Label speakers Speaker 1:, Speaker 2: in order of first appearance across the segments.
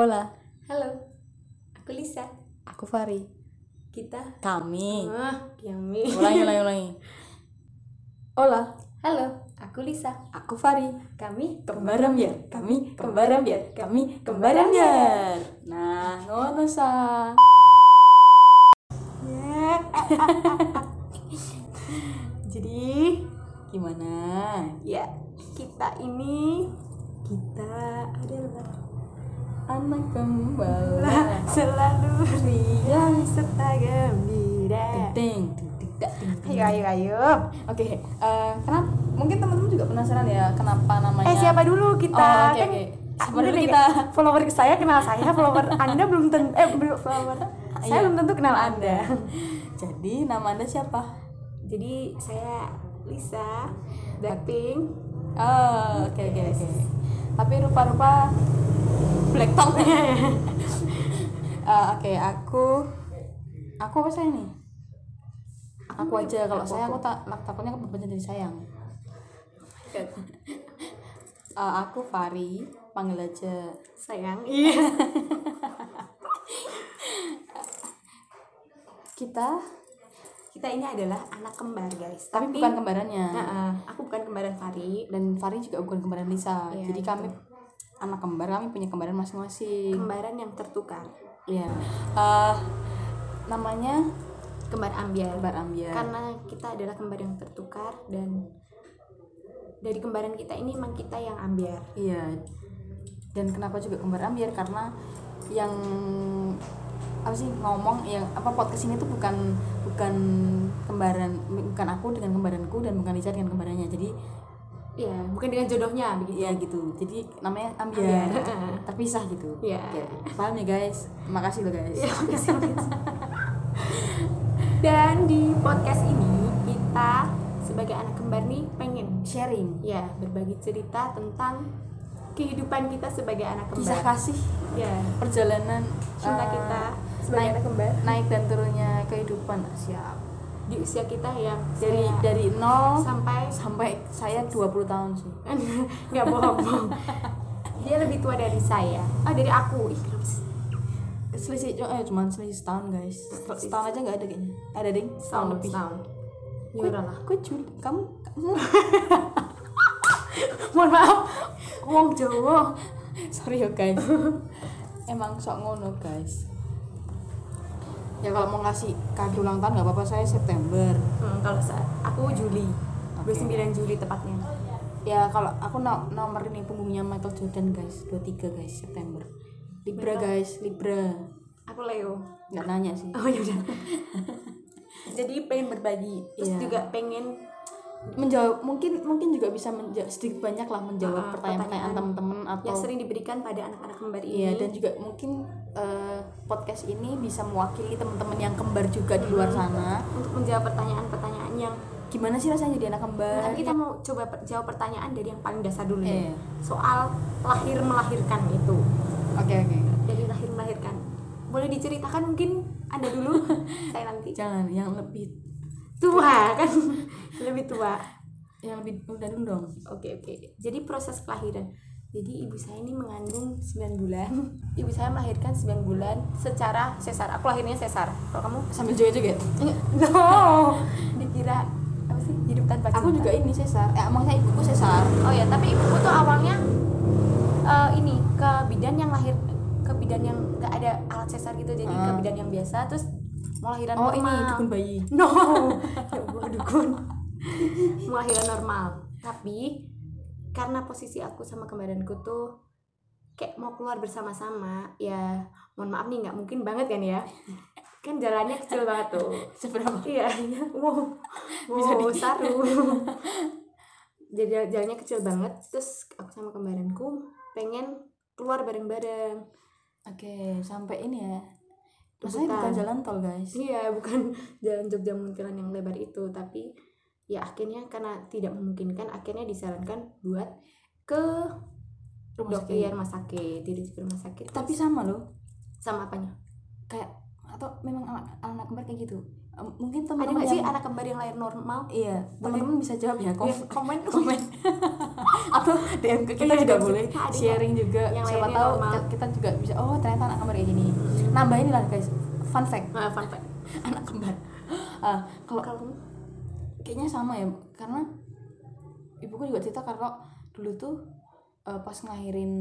Speaker 1: Hola,
Speaker 2: Halo, aku Lisa.
Speaker 1: aku Fari.
Speaker 2: Kita.
Speaker 1: Kami.
Speaker 2: Ah, yang mi.
Speaker 1: Ulangi, ulangi, ulangi. Hola,
Speaker 2: Halo, aku Lisa.
Speaker 1: aku Fari.
Speaker 2: Kami
Speaker 1: Kembaran biar, kami kembaran biar, kami kembaran biar. Nah, ngono sa.
Speaker 2: Jadi,
Speaker 1: Gimana?
Speaker 2: ya kita ini kita adalah
Speaker 1: Anak pembawa.
Speaker 2: selalu riang serta gembira.
Speaker 1: Ting, ting, ting, tak, ting, ting.
Speaker 2: Ayo, ayo, ayo.
Speaker 1: Oke, eh, kenapa? Mungkin teman-teman juga penasaran ya kenapa namanya?
Speaker 2: Eh siapa dulu
Speaker 1: Oh,
Speaker 2: kita?
Speaker 1: oke,
Speaker 2: Kan-
Speaker 1: oke.
Speaker 2: Ah,
Speaker 1: Siapa
Speaker 2: bener
Speaker 1: dulu
Speaker 2: deh,
Speaker 1: kita?
Speaker 2: kayak follower saya kenal saya, follower Anda belum tentu eh belum follower.
Speaker 1: Iya.
Speaker 2: Saya belum tentu kenal Anda.
Speaker 1: Jadi nama anda siapa?
Speaker 2: Jadi saya Lisa Blackpink.
Speaker 1: Oh, oke oke oke. Tapi rupa-rupa black tongue. Eh, oke, aku aku apa saya nih? Aku aja kalau saya aku tak tak- takutnya kebebasan jadi sayang. Eh, aku Fari, panggil aja.
Speaker 2: Sayang. Iya.
Speaker 1: Kita
Speaker 2: Kita ini adalah anak kembar, guys.
Speaker 1: tapi bukan kembarannya.
Speaker 2: Nah, aku bukan kembaran Fari.
Speaker 1: Dan Fari juga bukan kembaran Lisa.
Speaker 2: Iya,
Speaker 1: jadi kami anak kembar, kami punya kembaran masing-masing.
Speaker 2: Kembaran yang tertukar.
Speaker 1: Iya. Eh, namanya
Speaker 2: Kembar ambiar.
Speaker 1: kembar ambiar.
Speaker 2: Karena kita adalah kembar yang tertukar dan dari kembaran kita ini emang kita yang ambiar.
Speaker 1: Iya. Dan kenapa juga kembar ambiar karena yang apa sih ngomong yang apa podcast ini tuh bukan bukan kembaran bukan aku dengan kembaranku dan bukan Lisa dengan kembarannya. Jadi
Speaker 2: Iya, bukan dengan jodohnya begitu.
Speaker 1: ya gitu. Jadi namanya ambiar.
Speaker 2: Ambiar.
Speaker 1: Terpisah gitu.
Speaker 2: Iya.
Speaker 1: Oke, Paham ya guys? Makasih loh guys.
Speaker 2: Dan di podcast ini kita sebagai anak kembar nih pengen
Speaker 1: Sharing.
Speaker 2: ya berbagi cerita tentang kehidupan kita sebagai anak
Speaker 1: Kisah
Speaker 2: kembar.
Speaker 1: kasih
Speaker 2: Ya,
Speaker 1: perjalanan
Speaker 2: cinta
Speaker 1: eh,
Speaker 2: kita sebagai
Speaker 1: naik-
Speaker 2: anak kembar
Speaker 1: naik dan turunnya kehidupan siap
Speaker 2: di usia kita yang
Speaker 1: dari
Speaker 2: saya-
Speaker 1: dari nol
Speaker 2: sampai
Speaker 1: sampai saya 20 tahun sih
Speaker 2: nggak bohong. Dia lebih tua dari saya. Oh, dari aku. Ih, kenapa sih?
Speaker 1: selisih eh, cuma selisih setahun guys Setel- setahun aja nggak ada kayaknya ada ding setahun
Speaker 2: Tahun
Speaker 1: lebih
Speaker 2: tahun. Ya
Speaker 1: Gue-
Speaker 2: udahlah.
Speaker 1: gue Juli kamu kamu- mohon maaf wong
Speaker 2: Oh,
Speaker 1: Jawa sorry ya guys emang sok ngono guys ya kalau mau ngasih kado ulang tahun nggak apa-apa saya September
Speaker 2: Hmm, kalau saya aku Juli.
Speaker 1: Oke.
Speaker 2: 29 Juli tepatnya.
Speaker 1: ya kalau aku no nomor ini punggungnya Michael Jordan guys 23 guys September Libra guys Libra
Speaker 2: Aku Leo.
Speaker 1: nggak nanya sih
Speaker 2: Oh, ya udah. Jadi pengen berbagi, terus
Speaker 1: Iya.
Speaker 2: juga pengen
Speaker 1: menjawab mungkin mungkin juga bisa menja- sedikit banyak lah menjawab
Speaker 2: Ah,
Speaker 1: pertanyaan-pertanyaan
Speaker 2: pertanyaan.
Speaker 1: teman-teman atau
Speaker 2: yang sering diberikan pada anak-anak kembar ini.
Speaker 1: iya dan juga mungkin eh, podcast ini bisa mewakili teman-teman yang kembar juga di luar sana
Speaker 2: untuk menjawab pertanyaan-pertanyaan yang
Speaker 1: gimana sih rasanya jadi anak kembar
Speaker 2: tapi kita mau coba per- jawab pertanyaan dari yang paling dasar dulu
Speaker 1: Iya.
Speaker 2: ya. Soal lahir melahirkan itu.
Speaker 1: oke oke
Speaker 2: Dari lahir melahirkan. Boleh diceritakan mungkin Anda dulu, saya nanti.
Speaker 1: jangan yang lebih
Speaker 2: Tua kan lebih tua.
Speaker 1: yang lebih muda dulu dong
Speaker 2: Oke, oke. Jadi proses kelahiran. Jadi ibu saya ini mengandung 9 bulan. Ibu saya melahirkan 9 bulan secara sesar. Aku lahirnya sesar. Kalau kamu
Speaker 1: sambil joget-joget
Speaker 2: No, dikira apa sih hidup tanpa cinta.
Speaker 1: aku juga ini sesar eh maksudnya ibuku sesar
Speaker 2: Oh ya, tapi ibuku tuh awalnya eh, ini ke bidan yang lahir ke bidan yang nggak ada alat sesar gitu, jadi ke
Speaker 1: Ah.
Speaker 2: bidan yang biasa terus mau lahiran
Speaker 1: oh ini
Speaker 2: normal.
Speaker 1: dukun bayi
Speaker 2: No, ya Allah dukun. mau lahiran normal. Tapi karena posisi aku sama kembaranku tuh kayak mau keluar bersama-sama, ya mohon maaf nih nggak mungkin banget kan ya. Kan jalannya kecil banget tuh.
Speaker 1: seberapa
Speaker 2: iya iya wow
Speaker 1: Bisa
Speaker 2: bisa wow, saru jadi jal- jalannya kecil banget terus aku sama kembaranku pengen keluar bareng-bareng
Speaker 1: Oke, sampai ini ya.
Speaker 2: Bukan.
Speaker 1: Masalahnya bukan jalan tol, guys.
Speaker 2: iya bukan jalan Jogja Muntilan yang lebar itu tapi ya akhirnya karena tidak memungkinkan akhirnya disarankan buat ke
Speaker 1: Rumah
Speaker 2: dokter
Speaker 1: sakit.
Speaker 2: rumah sakit dirujuk ke rumah sakit
Speaker 1: iya. Tapi sama loh,
Speaker 2: sama apanya
Speaker 1: kayak atau memang anak anak kembar kayak gitu. Em, mungkin
Speaker 2: ada
Speaker 1: teman-teman
Speaker 2: nggak sih
Speaker 1: yang
Speaker 2: anak kembar yang lahir normal
Speaker 1: iya teman-teman bisa jawab ya
Speaker 2: Ya,
Speaker 1: komen
Speaker 2: komen
Speaker 1: komen atau DM ke kita
Speaker 2: Iya,
Speaker 1: juga
Speaker 2: DM.
Speaker 1: boleh
Speaker 2: Nah, ada
Speaker 1: sharing juga
Speaker 2: yang
Speaker 1: siapa
Speaker 2: lainnya
Speaker 1: tahu
Speaker 2: normal.
Speaker 1: kita juga bisa oh ternyata anak kembar kayak gini nambahin lah guys fun fact
Speaker 2: Nah, fun fact.
Speaker 1: anak kembar Ah, kalau
Speaker 2: Kalau
Speaker 1: kayaknya sama ya karena ibuku juga cerita kalau dulu tuh eh, pas ngelahirin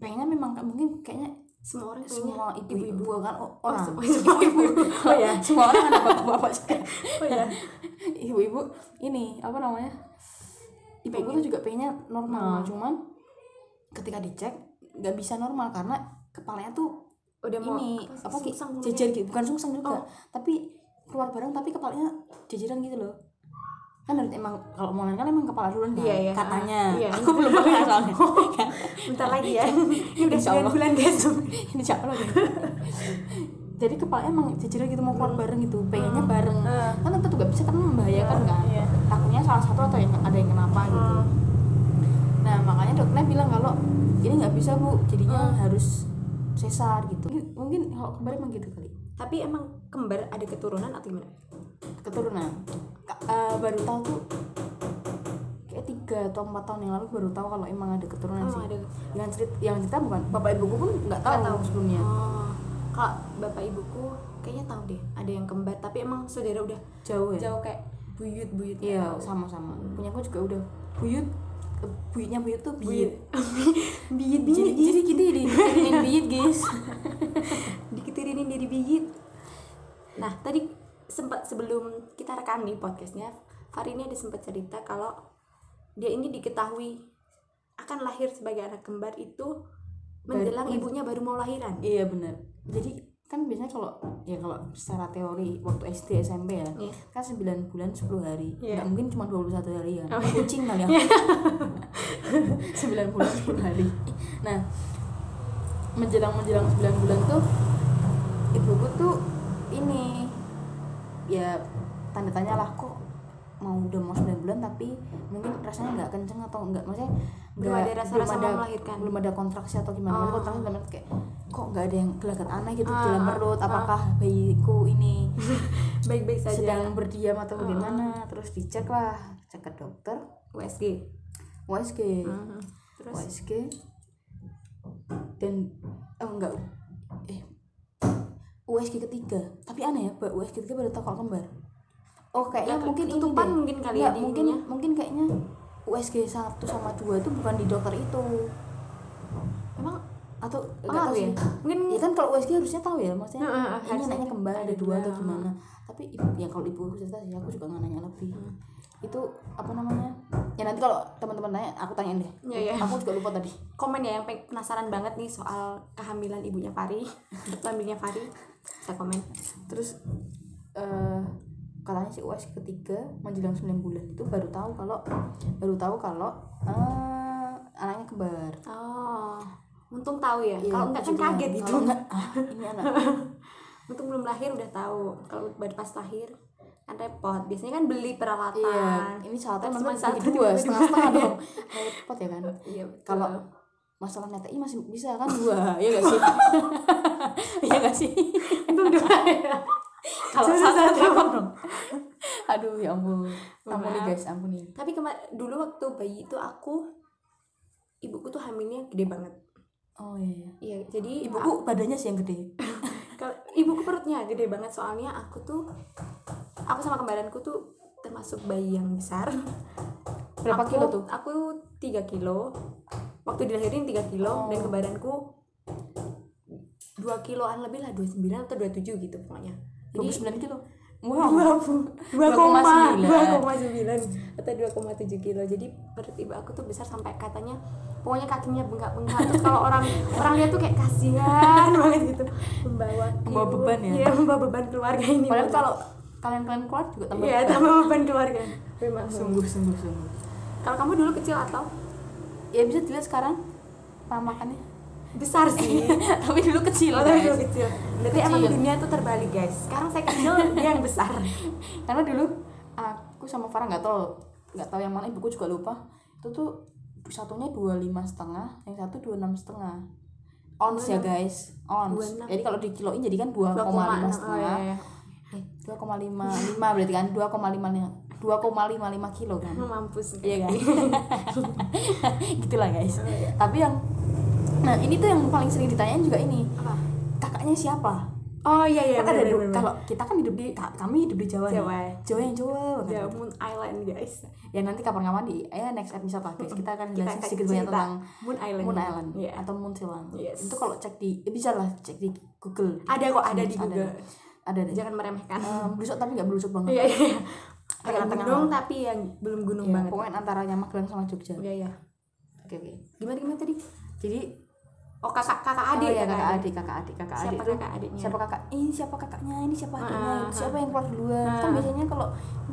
Speaker 1: pengennya memang mungkin kayaknya
Speaker 2: semua orang punya
Speaker 1: semua ibu-ibu kan o- orang
Speaker 2: semua, semua ibu. Oh ya.
Speaker 1: semua orang ada bapak-bapak juga
Speaker 2: Oh ya.
Speaker 1: ibu-ibu ini apa namanya ibu-ibu tuh juga pengennya normal
Speaker 2: Normal.
Speaker 1: cuman ketika dicek nggak bisa normal karena kepalanya tuh
Speaker 2: Udah mau
Speaker 1: ini
Speaker 2: sih,
Speaker 1: apa sih
Speaker 2: sungsang mulutnya?
Speaker 1: jejer gitu bukan sungsang juga
Speaker 2: Oh.
Speaker 1: tapi keluar bareng tapi kepalanya jejeran gitu loh kan harus emang kalau mau lain kan emang kepala duluan kan
Speaker 2: Iya, iya.
Speaker 1: katanya
Speaker 2: Ah, iya.
Speaker 1: aku belum pernah soalnya Kan?
Speaker 2: Bentar lagi ya. Ini udah
Speaker 1: Insya
Speaker 2: 9
Speaker 1: Allah.
Speaker 2: bulan guys.
Speaker 1: ini siapa lagi jadi kepalanya emang jejeran gitu mau keluar bareng gitu pengennya
Speaker 2: Hmm.
Speaker 1: bareng
Speaker 2: Eh.
Speaker 1: kan tentu gak bisa kan membahayakan kan
Speaker 2: Iya.
Speaker 1: takutnya salah satu atau yang ada yang kenapa gitu
Speaker 2: Hmm.
Speaker 1: nah makanya dokternya bilang kalau ini nggak bisa bu jadinya
Speaker 2: Hmm.
Speaker 1: harus sesar gitu mungkin, mungkin kalau kemarin emang gitu kali
Speaker 2: Tapi emang kembar ada keturunan atau gimana?
Speaker 1: keturunan Ka- eh, baru tahu tuh kayak tiga atau empat tahun yang lalu baru tahu kalau emang ada keturunan
Speaker 2: Oh,
Speaker 1: sih
Speaker 2: ada.
Speaker 1: yang cerita yang cerita bukan bapak ibuku pun nggak tahu,
Speaker 2: Nggak tahu.
Speaker 1: sebelumnya
Speaker 2: Oh. Kalau bapak ibuku kayaknya tahu deh ada yang kembar tapi emang saudara udah
Speaker 1: jauh ya
Speaker 2: jauh kayak buyut-buyut
Speaker 1: iya sama-sama punya aku juga udah buyut eh, buyutnya buyut tuh buyut
Speaker 2: biyit
Speaker 1: jadi,
Speaker 2: biyit
Speaker 1: jadi gini dikirimin buyut guys
Speaker 2: diketirinin dari biyit nah tadi sempat sebelum kita rekam nih podcastnya Fari ini ada sempat cerita kalau dia ini diketahui akan lahir sebagai anak kembar itu menjelang
Speaker 1: Baru-
Speaker 2: ibunya baru mau lahiran
Speaker 1: iya benar jadi kan biasanya kalau ya kalau secara teori waktu SD SMP ya
Speaker 2: Iya.
Speaker 1: kan 9 bulan 10 hari
Speaker 2: Iya.
Speaker 1: nggak mungkin cuma 21 hari ya
Speaker 2: Oh, iya.
Speaker 1: kucing kali ya 9 bulan 10 hari nah menjelang menjelang 9 bulan tuh ibuku tuh ini ya tanda tanya lah kok mau udah mau 9 bulan tapi mungkin rasanya nggak kenceng atau nggak maksudnya
Speaker 2: Belum
Speaker 1: nggak-
Speaker 2: ada rasa-rasa
Speaker 1: belum ada-
Speaker 2: mau melahirkan.
Speaker 1: belum ada kontraksi atau gimana Maksudnya
Speaker 2: Oh.
Speaker 1: kontraksi dalam arti kayak kok nggak ada yang gelagat aneh gitu
Speaker 2: Ah,
Speaker 1: dalam
Speaker 2: ah,
Speaker 1: perut
Speaker 2: ah.
Speaker 1: apakah bayiku ini
Speaker 2: baik-baik saja
Speaker 1: sedang berdiam atau
Speaker 2: Ah,
Speaker 1: bagaimana terus dicek lah cek ke dokter
Speaker 2: USG
Speaker 1: USG
Speaker 2: Mhm. terus
Speaker 1: USG dan oh enggak eh USG ketiga tapi aneh ya Mbak, USG ketiga baru tahu kalau kembar oh kayaknya
Speaker 2: Nggak,
Speaker 1: mungkin ini
Speaker 2: ketutupan
Speaker 1: deh.
Speaker 2: mungkin kali ya
Speaker 1: Nggak,
Speaker 2: di
Speaker 1: mungkin
Speaker 2: ininya.
Speaker 1: mungkin kayaknya USG 1 sama 2 itu bukan di dokter itu
Speaker 2: emang
Speaker 1: atau nggak
Speaker 2: pengaruh
Speaker 1: tahu
Speaker 2: ya
Speaker 1: sih.
Speaker 2: mungkin
Speaker 1: Ya kan kalau USG harusnya tahu ya maksudnya
Speaker 2: Heeh, heeh,
Speaker 1: ini
Speaker 2: harusnya
Speaker 1: anaknya kembar ada dua atau
Speaker 2: dua.
Speaker 1: gimana. Tapi ibu ya kalau ibu aku cerita sih aku juga nggak nanya lebih.
Speaker 2: Hmm.
Speaker 1: Itu apa namanya? Ya nanti kalau teman-teman nanya aku tanyain deh.
Speaker 2: Iya, iya.
Speaker 1: Aku juga lupa tadi.
Speaker 2: komen ya yang pe- penasaran banget nih soal kehamilan ibunya Fari kelaminnya Fari kita komen
Speaker 1: Terus eh katanya si USG ketiga menjelang 9 bulan itu baru tahu kalau baru tahu kalau eh, anaknya kembar.
Speaker 2: oh untung tahu ya,
Speaker 1: Iya,
Speaker 2: kalau nggak
Speaker 1: aku juga
Speaker 2: kan kaget
Speaker 1: nggak-
Speaker 2: gitu Iya.
Speaker 1: kalau nggak, ah, ini anak
Speaker 2: untung belum lahir udah tahu kalau baru pas lahir kan repot biasanya kan beli peralatan
Speaker 1: iya ini satu
Speaker 2: Kan
Speaker 1: memang
Speaker 2: cuma satu, Iya.
Speaker 1: jadi dua
Speaker 2: tiba-tiba
Speaker 1: setengah setengah
Speaker 2: dua.
Speaker 1: dong repot ya kan
Speaker 2: Iya, betul.
Speaker 1: kalau masalah netek ih, masih bisa kan dua ya gak sih ya gak sih
Speaker 2: untung dua ya
Speaker 1: kalau
Speaker 2: Cuma
Speaker 1: satu
Speaker 2: satu.
Speaker 1: repot dong aduh ya ampun ampuni
Speaker 2: Maaf.
Speaker 1: guys ampuni
Speaker 2: tapi kemar dulu waktu bayi itu aku ibuku tuh hamilnya gede banget
Speaker 1: oh iya
Speaker 2: iya jadi
Speaker 1: ibuku badannya sih yang gede
Speaker 2: Kalau ibuku perutnya gede banget soalnya aku tuh aku sama kembaranku tuh termasuk bayi yang besar.
Speaker 1: berapa
Speaker 2: Aku-
Speaker 1: kilo tuh
Speaker 2: Aku 3 kilo. Waktu dilahirin 3 kilo
Speaker 1: Oh.
Speaker 2: dan kembaranku 2 kiloan lebih lah 29 atau 27 gitu pokoknya.
Speaker 1: dua gitu.
Speaker 2: Jadi
Speaker 1: kilo
Speaker 2: dua
Speaker 1: wow
Speaker 2: dua koma
Speaker 1: 2,9.
Speaker 2: 2,9 atau 2,7 kilo. Jadi perut ibu aku tuh besar sampai katanya pokoknya kakinya bengkak-bengkak terus kalau orang orang lihat tuh kayak kasihan banget gitu membawa
Speaker 1: Membawa
Speaker 2: ibu-
Speaker 1: beban ya?
Speaker 2: iya membawa beban keluarga ini
Speaker 1: padahal kalau kalian kalian keluar juga tambah
Speaker 2: Iya, tambah beban keluarga. Memang.
Speaker 1: sungguh sungguh sungguh
Speaker 2: Kalau kamu dulu kecil atau
Speaker 1: ya bisa dilihat sekarang pamakannya
Speaker 2: besar sih?
Speaker 1: Oh, tapi dulu kecil
Speaker 2: Kalau tapi
Speaker 1: guys.
Speaker 2: dulu kecil. Berarti
Speaker 1: Kecil.
Speaker 2: emang dunia itu terbalik, guys. Sekarang saya kecil, dia yang besar.
Speaker 1: karena dulu aku sama Farah nggak tahu nggak tahu yang mana ibuku juga lupa itu tuh satunya dua lima setengah yang satu dua enam setengah ons ya guys ons
Speaker 2: 26. iya.
Speaker 1: jadi kalau dikiloin jadi kan dua koma lima
Speaker 2: 2,6. Oh,
Speaker 1: setengah
Speaker 2: iya, iya. Eh,
Speaker 1: 2,55 lima berarti kan 2,55 2,55 kilo kan
Speaker 2: mau mampus nggak?
Speaker 1: iya kan gitulah guys
Speaker 2: Oh, iya.
Speaker 1: tapi yang nah ini tuh yang paling sering ditanyain juga ini
Speaker 2: Apa?
Speaker 1: kakaknya siapa
Speaker 2: Oh iya iya.
Speaker 1: Kita kan
Speaker 2: bener,
Speaker 1: hidup-
Speaker 2: bener, bener.
Speaker 1: kalau kita kan hidup di ka- kami hidup di Jawa
Speaker 2: Jawa.
Speaker 1: nih. Jawa yang Jawa banget.
Speaker 2: Ya, Moon Island guys.
Speaker 1: Ya nanti kapan-kapan di eh next episode lah guys. Kita akan
Speaker 2: Kita
Speaker 1: jelasin
Speaker 2: akan
Speaker 1: sedikit banyak
Speaker 2: cerita
Speaker 1: tentang
Speaker 2: Moon Island.
Speaker 1: Moon Island
Speaker 2: Iya.
Speaker 1: atau Moon Silang.
Speaker 2: Yes.
Speaker 1: Itu kalau cek di eh, bisa lah cek di Google.
Speaker 2: Ada kok ada di
Speaker 1: Ada.
Speaker 2: Google.
Speaker 1: Ada ada.
Speaker 2: Jangan meremehkan.
Speaker 1: Em, belusuk tapi nggak belusuk banget.
Speaker 2: Iya iya. Kayak
Speaker 1: Tengah-tengah.
Speaker 2: gunung tapi yang belum gunung
Speaker 1: Ya,
Speaker 2: banget.
Speaker 1: pokoknya antara Magelang sama Jogja. Oke
Speaker 2: Iya iya.
Speaker 1: oke.
Speaker 2: Gimana gimana tadi?
Speaker 1: Jadi
Speaker 2: Oh kakak kakak
Speaker 1: ada
Speaker 2: adik
Speaker 1: ya kakak
Speaker 2: adik.
Speaker 1: adik, kakak adik, kakak
Speaker 2: Siapa
Speaker 1: adik tuh
Speaker 2: kakak adiknya?
Speaker 1: siapa kakak ini siapa kakaknya ini siapa
Speaker 2: Ah,
Speaker 1: adiknya
Speaker 2: ah.
Speaker 1: siapa yang keluar duluan kan
Speaker 2: Ah.
Speaker 1: biasanya kalau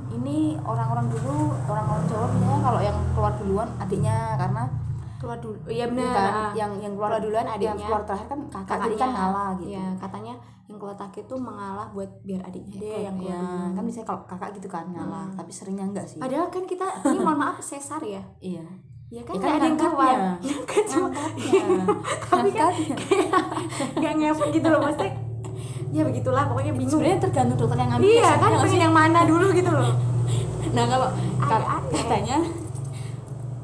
Speaker 1: ini orang-orang dulu orang-orang Jawa biasanya kalau yang keluar duluan adiknya karena
Speaker 2: Keluar dulu.
Speaker 1: Oh,
Speaker 2: Iya benar.
Speaker 1: bukan
Speaker 2: ah.
Speaker 1: yang Nah, yang keluar,
Speaker 2: Keluar duluan
Speaker 1: yang
Speaker 2: adiknya.
Speaker 1: keluar terakhir kan kakak jadi kan ngalah gitu
Speaker 2: Iya, katanya yang keluar terakhir tuh mengalah buat biar adiknya dia
Speaker 1: Kalau-
Speaker 2: yang keluar
Speaker 1: iya,
Speaker 2: duluan.
Speaker 1: kan biasanya kalau kakak gitu kan ngalah
Speaker 2: Hmm.
Speaker 1: tapi seringnya enggak sih
Speaker 2: Padahal kan kita ini mohon maaf sesar ya.
Speaker 1: iya
Speaker 2: Ya
Speaker 1: Ya kan
Speaker 2: kan nggak ada yang keluar.
Speaker 1: ngangkatnya.
Speaker 2: Ya kan cuma kan
Speaker 1: Angkatnya. Angkatnya.
Speaker 2: nggak ngefek gitu loh maksudnya. Ya begitulah pokoknya bingung.
Speaker 1: sebenarnya tergantung dokter yang ngambil
Speaker 2: Iya
Speaker 1: ya,
Speaker 2: kan
Speaker 1: nggak sih?
Speaker 2: pengen yang mana dulu gitu loh.
Speaker 1: nah kalau
Speaker 2: Agak
Speaker 1: ka-
Speaker 2: aneh.
Speaker 1: katanya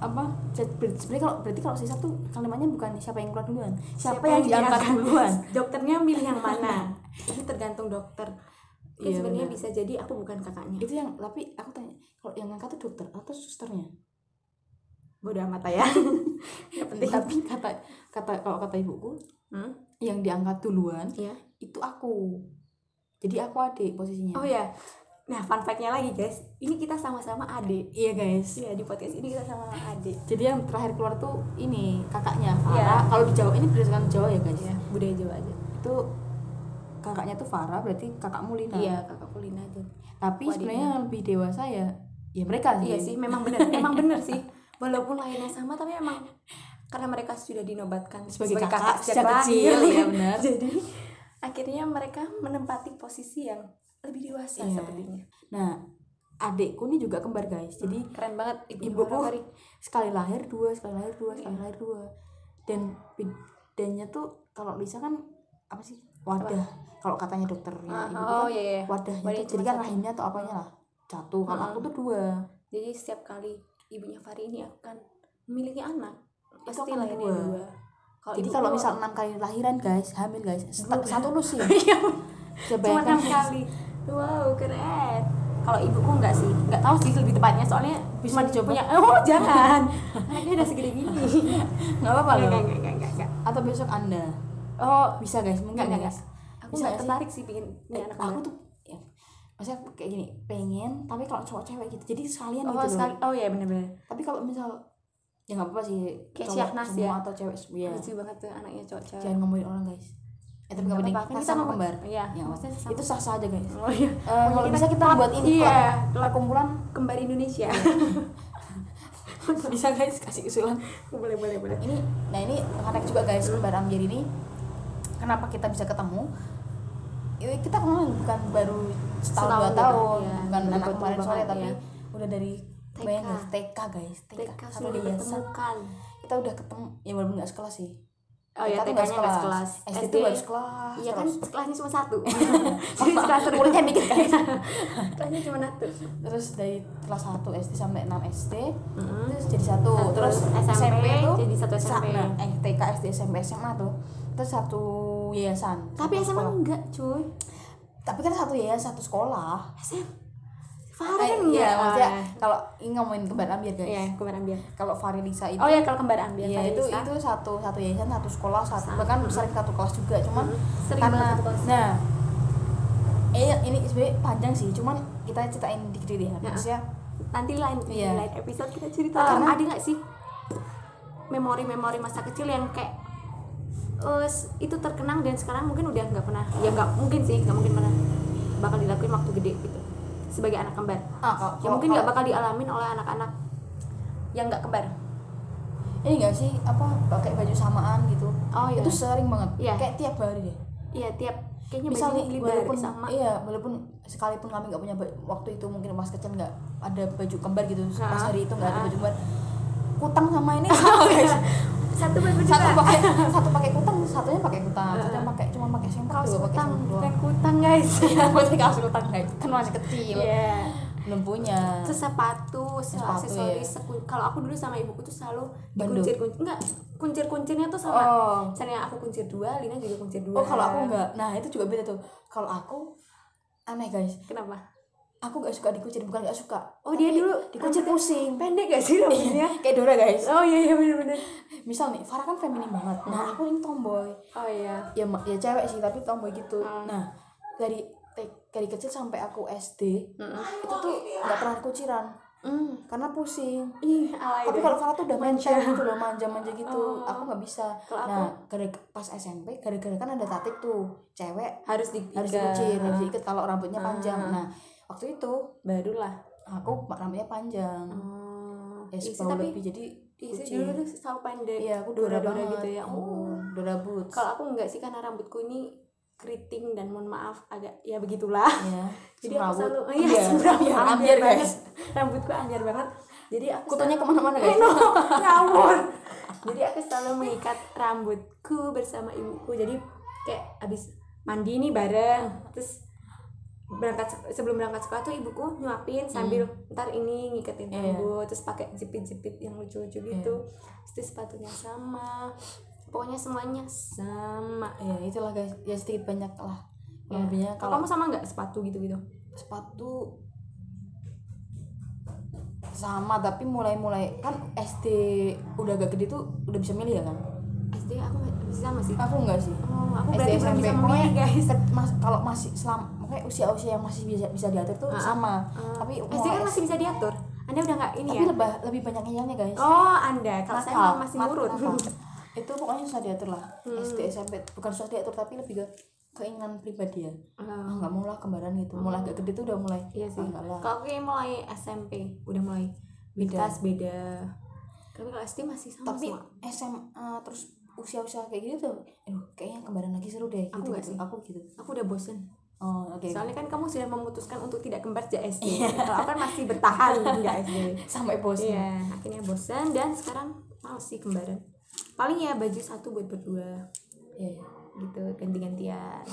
Speaker 1: apa j- ber- sebenarnya kalau berarti kalau sisa tuh kalimatnya bukan siapa yang keluar duluan siapa, yang diangkat
Speaker 2: diangkat?
Speaker 1: duluan
Speaker 2: Dokternya milih yang mana? Ini tergantung dokter. Kan
Speaker 1: Iya,
Speaker 2: sebenarnya
Speaker 1: benar.
Speaker 2: bisa jadi aku bukan kakaknya.
Speaker 1: itu yang tapi aku tanya kalau yang ngangkat tuh dokter atau susternya
Speaker 2: Bodoh amat ya. Gak penting.
Speaker 1: tapi kata kata kalau kata ibuku
Speaker 2: Hmm?
Speaker 1: yang diangkat duluan
Speaker 2: Iya.
Speaker 1: itu aku jadi aku adik posisinya
Speaker 2: Oh ya. Nah, fun fact-nya lagi guys. Ini kita sama-sama adik.
Speaker 1: iya guys
Speaker 2: Iya, di podcast ini kita sama adik.
Speaker 1: jadi yang terakhir keluar tuh ini kakaknya Farah
Speaker 2: Iya.
Speaker 1: kalau di Jawa ini berdasarkan Jawa ya guys
Speaker 2: budaya Jawa aja.
Speaker 1: itu kakaknya tuh Farah berarti kakakmu Lina
Speaker 2: Iya, kakak Kulina aja.
Speaker 1: tapi
Speaker 2: Wadidnya.
Speaker 1: sebenarnya yang lebih dewasa ya ya mereka sih
Speaker 2: Iya sih, memang benar. memang benar sih. Walaupun lainnya sama tapi memang karena mereka sudah dinobatkan
Speaker 1: Sebagai kakak sejak kecil,
Speaker 2: lahir.
Speaker 1: iya benar.
Speaker 2: Jadi akhirnya mereka menempati posisi yang lebih dewasa
Speaker 1: Iya.
Speaker 2: sepertinya.
Speaker 1: nah adekku ini juga kembar guys jadi
Speaker 2: Keren banget ibu
Speaker 1: ibuku
Speaker 2: Horowari.
Speaker 1: sekali lahir dua sekali lahir dua
Speaker 2: Iya.
Speaker 1: sekali lahir dua dan bedanya tuh kalau Lisa kan apa sih wadah kalau katanya dokternya
Speaker 2: Ah,
Speaker 1: ibu
Speaker 2: oh
Speaker 1: kan
Speaker 2: iya iya.
Speaker 1: wadahnya
Speaker 2: Wadah
Speaker 1: tuh
Speaker 2: cuma
Speaker 1: jadi kan
Speaker 2: satu.
Speaker 1: rahimnya atau apanya lah satu kalau
Speaker 2: Ah.
Speaker 1: aku tuh dua
Speaker 2: Jadi setiap kali ibunya Fari ini akan memiliki anak, pasti
Speaker 1: akan
Speaker 2: lahirnya
Speaker 1: dua.
Speaker 2: dua.
Speaker 1: jadi
Speaker 2: ibuku-
Speaker 1: kalau misal enam kali lahiran guys hamil guys set-
Speaker 2: Oh, Dua.
Speaker 1: satu lusin
Speaker 2: Iya,
Speaker 1: Bisa
Speaker 2: cuma
Speaker 1: bayangkan,
Speaker 2: enam
Speaker 1: guys.
Speaker 2: kali wow keren kalau ibuku enggak sih enggak tahu sih lebih tepatnya soalnya
Speaker 1: Bisa
Speaker 2: cuma
Speaker 1: dicoba.
Speaker 2: punya oh jangan anaknya udah segede gini Eh,
Speaker 1: nggak apa-apa
Speaker 2: Enggak,
Speaker 1: loh
Speaker 2: enggak, enggak, enggak, enggak.
Speaker 1: Iya, atau besok anda
Speaker 2: oh
Speaker 1: bisa guys mungkin
Speaker 2: Enggak, enggak,
Speaker 1: guys
Speaker 2: aku
Speaker 1: Bisa nggak
Speaker 2: nggak
Speaker 1: sih?
Speaker 2: tertarik sih pingin punya
Speaker 1: Eh,
Speaker 2: anak
Speaker 1: aku
Speaker 2: kembar.
Speaker 1: tuh ya, maksudnya aku kayak gini pengen tapi kalau cowok cewek gitu jadi sekalian
Speaker 2: oh
Speaker 1: gitu loh.
Speaker 2: sekali oh ya benar-benar
Speaker 1: tapi kalau misal ya nggak apa-apa sih
Speaker 2: Kayak
Speaker 1: cowok
Speaker 2: Syahnas
Speaker 1: semua
Speaker 2: ya?
Speaker 1: atau cewek semua
Speaker 2: lucu banget tuh anaknya cocok
Speaker 1: Iya. jangan ngomongin orang guys eh tapi nggak
Speaker 2: Nggak
Speaker 1: penting
Speaker 2: apa-apa, kan
Speaker 1: kita
Speaker 2: kita
Speaker 1: sama
Speaker 2: ngomong-
Speaker 1: kembar
Speaker 2: iya,
Speaker 1: Ya,
Speaker 2: maksudnya sesama.
Speaker 1: itu sah sah aja guys
Speaker 2: oh iya
Speaker 1: Eh, kalau bisa kita buat ini
Speaker 2: iya
Speaker 1: klub kumpulan
Speaker 2: kembar Indonesia
Speaker 1: bisa guys kasih usulan
Speaker 2: boleh boleh boleh
Speaker 1: Iya. ini nah ini menarik juga guys kembar Amjad ini kenapa kita bisa ketemu Ya, kita kemarin bukan baru setahun
Speaker 2: Setahun
Speaker 1: dua
Speaker 2: juga,
Speaker 1: tahun
Speaker 2: iya.
Speaker 1: bukan
Speaker 2: Baru
Speaker 1: anak
Speaker 2: ketemu
Speaker 1: kemarin sore
Speaker 2: banget,
Speaker 1: tapi
Speaker 2: iya.
Speaker 1: udah dari
Speaker 2: TK.
Speaker 1: bayangin guys, TK guys TK,
Speaker 2: TK
Speaker 1: satu
Speaker 2: sudah
Speaker 1: yayasan.
Speaker 2: dipertemukan
Speaker 1: kita udah ketemu ya walaupun nggak sekelas sih
Speaker 2: oh ya
Speaker 1: Kita tuh
Speaker 2: TK-nya nggak sekelas
Speaker 1: SD, tuh baru sekelas
Speaker 2: Iya kan
Speaker 1: terus.
Speaker 2: kelasnya cuma satu.
Speaker 1: Jadi
Speaker 2: Jadi
Speaker 1: sekelas
Speaker 2: kelas
Speaker 1: terus mulutnya dikit guys
Speaker 2: kelasnya cuma satu.
Speaker 1: terus dari kelas 1 SD sampai 6 SD
Speaker 2: Mm-mm.
Speaker 1: Hmm. terus jadi satu
Speaker 2: Satu.
Speaker 1: terus
Speaker 2: SMP,
Speaker 1: tuh
Speaker 2: jadi satu SMP.
Speaker 1: sama. eh TK SD SMP SMA tuh terus satu yayasan
Speaker 2: Tapi
Speaker 1: Satu
Speaker 2: SMA
Speaker 1: sekolah.
Speaker 2: enggak, cuy.
Speaker 1: tapi kan satu yayasan satu sekolah
Speaker 2: SMA.
Speaker 1: Eh,
Speaker 2: Farah kan
Speaker 1: iya,
Speaker 2: enggak.
Speaker 1: maksudnya kalau ini ngomongin kembar ambil guys
Speaker 2: Iya, kembar ambil.
Speaker 1: kalau Farilisa itu
Speaker 2: Oh ya kalau kembar ambil.
Speaker 1: Iya,
Speaker 2: Farah
Speaker 1: itu
Speaker 2: Lisa.
Speaker 1: itu satu satu yayasan satu sekolah satu
Speaker 2: Sama.
Speaker 1: bahkan sering satu kelas juga cuman
Speaker 2: Hmm, sering
Speaker 1: karena
Speaker 2: banget satu kelas.
Speaker 1: nah eh ini sebenarnya panjang sih cuman kita ceritain dikit dikit ya
Speaker 2: Ya.
Speaker 1: maksudnya
Speaker 2: nanti lain
Speaker 1: Iya.
Speaker 2: lain episode kita cerita.
Speaker 1: Karena-
Speaker 2: Karena Ah, ada nggak sih memori-memori masa kecil yang kayak eh, s- itu terkenang dan sekarang mungkin udah nggak pernah ya nggak mungkin sih nggak mungkin pernah bakal dilakuin waktu gede gitu sebagai anak kembar
Speaker 1: ah, kalau,
Speaker 2: ya mungkin nggak bakal dialamin oleh anak-anak yang nggak kembar
Speaker 1: ini nggak sih apa pakai baju samaan gitu
Speaker 2: oh
Speaker 1: itu sering banget
Speaker 2: Iya.
Speaker 1: kayak tiap hari deh
Speaker 2: iya tiap kayaknya
Speaker 1: misalnya
Speaker 2: bajunya lebar
Speaker 1: walaupun
Speaker 2: sama
Speaker 1: iya walaupun sekalipun kami nggak punya baju- waktu itu mungkin pas kecil nggak ada baju kembar gitu pas
Speaker 2: Ha-ha.
Speaker 1: hari itu nggak ada
Speaker 2: Ha-ha.
Speaker 1: baju kembar kutang sama ini
Speaker 2: Oh,
Speaker 1: sama guys
Speaker 2: satu baju
Speaker 1: satu pakai satu pakai kutang satunya pakai kutang
Speaker 2: Ha-ha.
Speaker 1: satunya pakai cuma pakai sengkol
Speaker 3: kaos
Speaker 2: Tuh, pakai
Speaker 3: kutang
Speaker 2: semplung.
Speaker 3: pakai kutang guys
Speaker 1: aku sih kaos kutang guys kan masih kecil
Speaker 3: iya
Speaker 1: belum punya
Speaker 2: terus sepatu, se-
Speaker 1: Sepatu,
Speaker 2: aksesoris,
Speaker 1: ya.
Speaker 2: sekun- kalau aku dulu sama ibuku tuh selalu
Speaker 1: Bandung.
Speaker 2: dikuncir kunci enggak kuncir kuncirnya tuh sama
Speaker 1: oh
Speaker 2: misalnya aku kuncir dua, Lina juga kuncir dua.
Speaker 1: oh kalau aku nggak nah itu juga beda tuh kalau aku aneh guys
Speaker 2: kenapa?
Speaker 1: aku nggak suka dikucir bukan nggak suka
Speaker 2: Oh dia
Speaker 1: Tapi
Speaker 2: dulu
Speaker 1: dikucir
Speaker 2: rambutnya
Speaker 1: pusing
Speaker 2: pendek gak sih rambutnya?
Speaker 1: kayak Dora guys
Speaker 2: oh iya Hmm. iya benar-benar.
Speaker 1: misal nih Farah kan feminim banget nah aku ini tomboy
Speaker 2: Oh iya.
Speaker 1: ya ma- ya cewek sih tapi tomboy gitu
Speaker 2: Hmm.
Speaker 1: nah dari te- dari kecil sampai aku SD itu tuh nggak pernah kuciran
Speaker 2: Hmm.
Speaker 1: karena pusing
Speaker 2: Ih, alay
Speaker 1: Mm. tapi
Speaker 2: deh.
Speaker 1: kalau Farah tuh udah manja gitu loh manja-manja gitu
Speaker 2: Oh.
Speaker 1: aku nggak bisa
Speaker 2: Kalau aku-
Speaker 1: nah gara pas SMP gara-gara kan ada tatik tuh cewek
Speaker 2: harus diikat.
Speaker 1: harus dikucir harus diikat kalau rambutnya panjang
Speaker 2: Ah.
Speaker 1: nah waktu itu
Speaker 2: barulah.
Speaker 1: aku rambutnya panjang
Speaker 2: Oh.
Speaker 1: ya
Speaker 2: Isi,
Speaker 1: sepau
Speaker 2: tapi iya
Speaker 1: lebih jadi
Speaker 2: isi
Speaker 1: kucing.
Speaker 2: dulu tuh selalu pendek.
Speaker 1: iya aku dora,
Speaker 2: Dora-dora
Speaker 1: banget
Speaker 2: gitu ya. Oh.
Speaker 1: Hmm, dora boots
Speaker 2: Kalau aku enggak sih karena rambutku ini keriting dan mohon maaf agak ya begitulah.
Speaker 1: Iya.
Speaker 2: Jadi aku
Speaker 1: Semrawut.
Speaker 2: selalu
Speaker 1: Iya,
Speaker 2: semrawut.
Speaker 1: iya, ambiar,
Speaker 2: ambiar
Speaker 1: guys.
Speaker 2: banget. Rambutku ambiar banget. Jadi aku
Speaker 1: kutunya kemana-mana
Speaker 2: Eh,
Speaker 1: guys
Speaker 2: no, ngawur. Jadi aku selalu mengikat rambutku bersama ibuku. Jadi kayak abis mandi nih bareng, terus berangkat sek- sebelum berangkat sekolah tuh ibuku nyuapin sambil ntar ini
Speaker 1: Hmm.
Speaker 2: ngiketin
Speaker 1: Iya.
Speaker 2: rambut, terus pakai jepit-jepit yang lucu-lucu gitu. Terus sepatunya sama. Pokoknya semuanya sama.
Speaker 1: ya itulah guys ya sedikit banyak lah
Speaker 2: Ya.
Speaker 1: Kurang lebihnya
Speaker 2: Kalau
Speaker 1: Nah, kalau
Speaker 2: kamu sama nggak sepatu gitu-gitu?
Speaker 1: sepatu sama tapi mulai-mulai kan SD udah agak gede tuh udah bisa milih ya kan
Speaker 2: SD aku nggak bisa masih.
Speaker 1: aku enggak sih
Speaker 2: Oh, aku
Speaker 1: SD
Speaker 2: berarti belum
Speaker 1: SMP
Speaker 2: bisa
Speaker 1: pokoknya
Speaker 2: memilih guys.
Speaker 1: set- mas, kalau masih selama pokoknya usia-usia yang masih bisa bisa diatur tuh
Speaker 2: Ah,
Speaker 1: sama
Speaker 2: Eh,
Speaker 1: tapi
Speaker 2: SD kan
Speaker 1: mulai
Speaker 2: masih bisa diatur. Anda udah nggak ini
Speaker 1: tapi
Speaker 2: ya?
Speaker 1: lebih lebih banyak ngeyelnya guys
Speaker 2: Oh, Anda. Kalau saya
Speaker 1: Nakal.
Speaker 2: memang masih
Speaker 1: Nakal,
Speaker 2: nurut.
Speaker 1: nakal. itu pokoknya susah diatur lah
Speaker 2: Hmm.
Speaker 1: SD SMP bukan susah diatur tapi lebih ke keinginan pribadi ya ah
Speaker 2: Oh,
Speaker 1: nggak mau lah kembaran gitu mulai agak gede tuh udah mulai
Speaker 2: Hmm. Iya sih.
Speaker 1: ah, nggak lah
Speaker 2: Kalau aku kayak mulai SMP udah mulai
Speaker 1: Beda.
Speaker 2: beda beda. Tapi kalau SD masih sama
Speaker 1: tapi
Speaker 2: semua.
Speaker 1: SMA terus usia-usia kayak gitu tuh aduh kayaknya kembaran lagi seru deh
Speaker 2: Aku
Speaker 1: gitu
Speaker 2: nggak
Speaker 1: gitu.
Speaker 2: sih.
Speaker 1: aku gitu
Speaker 2: Aku udah bosen.
Speaker 1: oh oke
Speaker 2: Soalnya kan kamu sudah memutuskan untuk tidak kembar sejak SD. Kalau aku kan masih bertahan nggak SD.
Speaker 1: sampai bosan
Speaker 2: Iya, akhirnya bosen dan sekarang mau sih kembaran. Paling ya baju satu buat berdua
Speaker 1: Iya, iya.
Speaker 2: gitu ganti-gantian.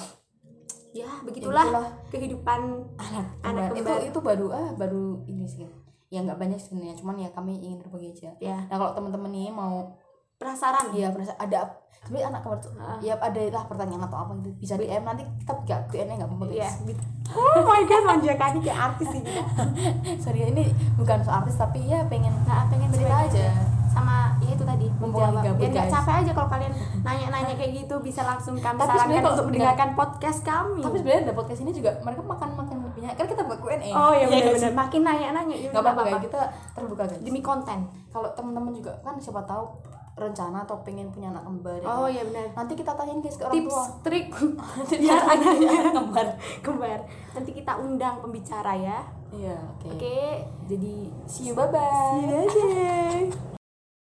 Speaker 2: Ya,
Speaker 1: Ya,
Speaker 2: begitulah
Speaker 1: begitulah.
Speaker 2: kehidupan
Speaker 1: anak
Speaker 2: Anak
Speaker 1: kembar.
Speaker 2: kembar.
Speaker 1: Iya, itu itu baru ah baru ini sih ya nggak banyak sebenarnya cuman ya kami ingin berbagi aja
Speaker 2: ya
Speaker 1: nah kalau teman-teman nih mau
Speaker 2: penasaran
Speaker 1: ya merasa ada sebenarnya anak kembar tuh
Speaker 2: Ah.
Speaker 1: ya ada lah pertanyaan atau apa gitu bisa DM nanti kita nggak Q&A nggak apa-apa
Speaker 2: Iya.
Speaker 1: guys
Speaker 2: Oh my god, manjakannya kayak artis sih kita.
Speaker 1: sorry ya, ini bukan soal artis tapi ya pengen
Speaker 2: Nah, pengen
Speaker 1: cerita
Speaker 2: berbagi
Speaker 1: aja
Speaker 2: sama ya itu tadi
Speaker 1: Mumpung lagi
Speaker 2: menjawab.
Speaker 1: gabut,
Speaker 2: Biar nggak
Speaker 1: guys.
Speaker 2: capek aja kalau kalian nanya-nanya kayak gitu bisa langsung kami
Speaker 1: Tapi sebenarnya
Speaker 2: sarankan
Speaker 1: kalau
Speaker 2: untuk
Speaker 1: sebenarnya-
Speaker 2: mendengarkan podcast kami.
Speaker 1: tapi sebenarnya ada podcast ini juga mereka makan makan lebihnya kan kita buat Q&A
Speaker 2: oh ya
Speaker 1: nggak
Speaker 2: benar-benar
Speaker 1: sih?
Speaker 2: makin nanya-nanya ya
Speaker 1: Iya, kan? nggak apa-apa guys, kita terbuka guys
Speaker 2: Demi konten.
Speaker 1: kalau teman-teman juga kan siapa tahu rencana atau pengen punya anak kembar ya
Speaker 2: Oh
Speaker 1: kan?
Speaker 2: ya benar.
Speaker 1: nanti kita tanyain guys ke orang
Speaker 2: Tips,
Speaker 1: tua
Speaker 2: trik
Speaker 1: biar
Speaker 2: biar
Speaker 1: ada
Speaker 2: anaknya
Speaker 1: anak kembar
Speaker 2: kembar. Nanti kita undang pembicara ya.
Speaker 1: iya oke
Speaker 2: Oke, jadi
Speaker 1: see you bye bye
Speaker 2: dadah.